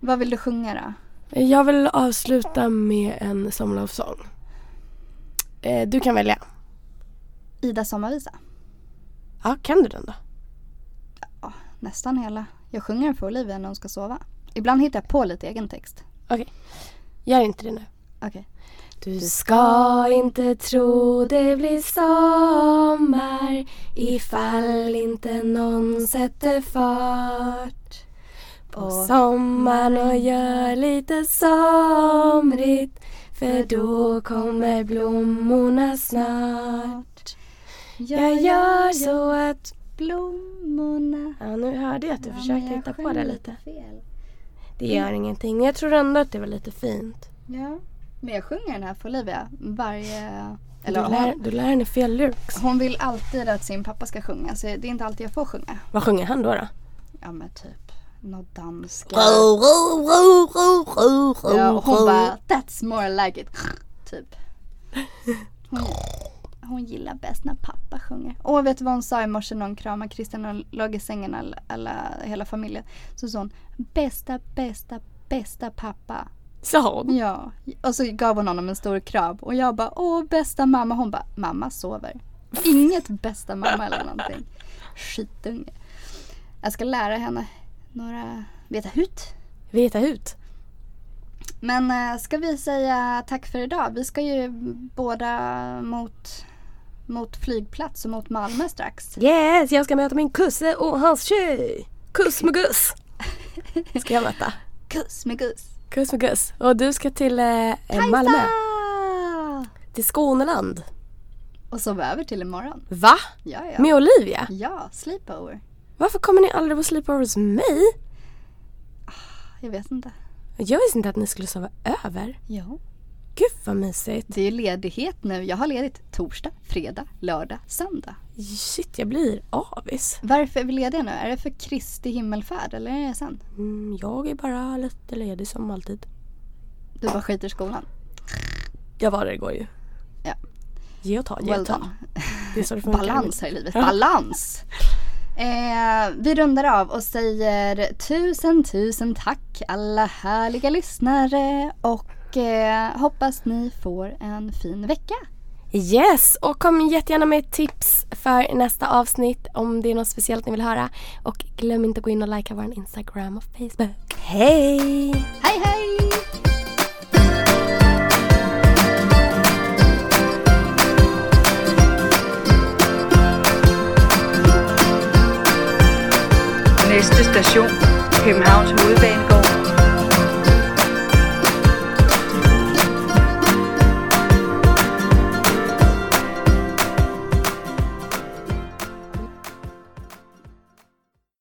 S1: Vad vill du sjunga då?
S2: Jag vill avsluta med en sommarlovsång. Eh, du kan välja.
S1: Ida sommarvisa.
S2: Ja, kan du den då?
S1: Nästan hela. Jag sjunger den för Olivia när hon ska sova. Ibland hittar jag på lite egen text.
S2: Okej. Gör inte det nu.
S1: Okej.
S2: Du ska inte tro det blir sommar ifall inte någon sätter fart på sommaren och gör lite somrigt för då kommer blommorna snart. Jag gör så att...
S1: blommorna.
S2: Ja, nu hörde jag att du
S1: Ja, men
S2: försökte
S1: jag
S2: hitta på
S1: sjöng
S2: det lite.
S1: Fel.
S2: Det gör ingenting. Jag tror ändå att det var lite fint.
S1: Ja. Men jag sjunger den här för Olivia varje... Eller
S2: Du lär,
S1: hon,
S2: du lär henne fel lyx.
S1: hon vill alltid att sin pappa ska sjunga så det är inte alltid jag får sjunga.
S2: Vad sjunger han då? då?
S1: Ja men typ något danska.
S2: Ro, ro, ro, ro, ro, ro,
S1: Ja, och
S2: ro.
S1: hon bara that's more like it. Typ. Hon, hon gillar bäst när pappa sjunger. Och vet du vad hon sa i morse när hon kramade Christian och låg i sängen alla, alla, hela familjen? Så sa hon bästa, bästa, bästa pappa.
S2: Sa hon?
S1: Ja, och så gav hon honom en stor kram och jag bara åh bästa mamma. Hon bara mamma sover. Inget bästa mamma eller någonting. Skitunge. Jag ska lära henne några veta hut.
S2: Veta hut.
S1: Men eh, ska vi säga tack för idag? Vi ska ju båda mot, mot flygplats och mot Malmö strax.
S2: Yes, jag ska möta min kusse och hans tjej. Kuss med guss. Ska jag möta.
S1: Kuss med Gus!
S2: Kuss med guss. Och du ska till eh, Malmö.
S1: Ah!
S2: Till Skåneland.
S1: Och så över till imorgon.
S2: Va?
S1: Ja, ja.
S2: Med Olivia?
S1: Ja, sleepover.
S2: Varför kommer ni aldrig på sleepover hos mig?
S1: Jag vet inte.
S2: Jag visste inte att ni skulle sova över.
S1: Jo.
S2: Gud vad mysigt.
S1: Det är ju ledighet nu. Jag har ledigt torsdag, fredag, lördag, söndag.
S2: Shit, jag blir avis.
S1: Varför är vi lediga nu? Är det för Kristi himmelfärd eller är det sen?
S2: Mm, jag är bara lite ledig som alltid.
S1: Du bara skiter i skolan.
S2: Jag var det igår ju.
S1: Ja.
S2: Ge och ta, ge
S1: Well
S2: och ta.
S1: done.
S2: Det är så det funkar.
S1: Balans här i livet. Balans! Eh, vi rundar av och säger tusen, tusen tack alla härliga lyssnare och eh, hoppas ni får en fin vecka.
S2: Yes, och kom jättegärna med tips för nästa avsnitt om det är något speciellt ni vill höra. Och glöm inte att gå in och likea vår Instagram och Facebook. Hej!
S1: Hej hej!
S3: Næste station,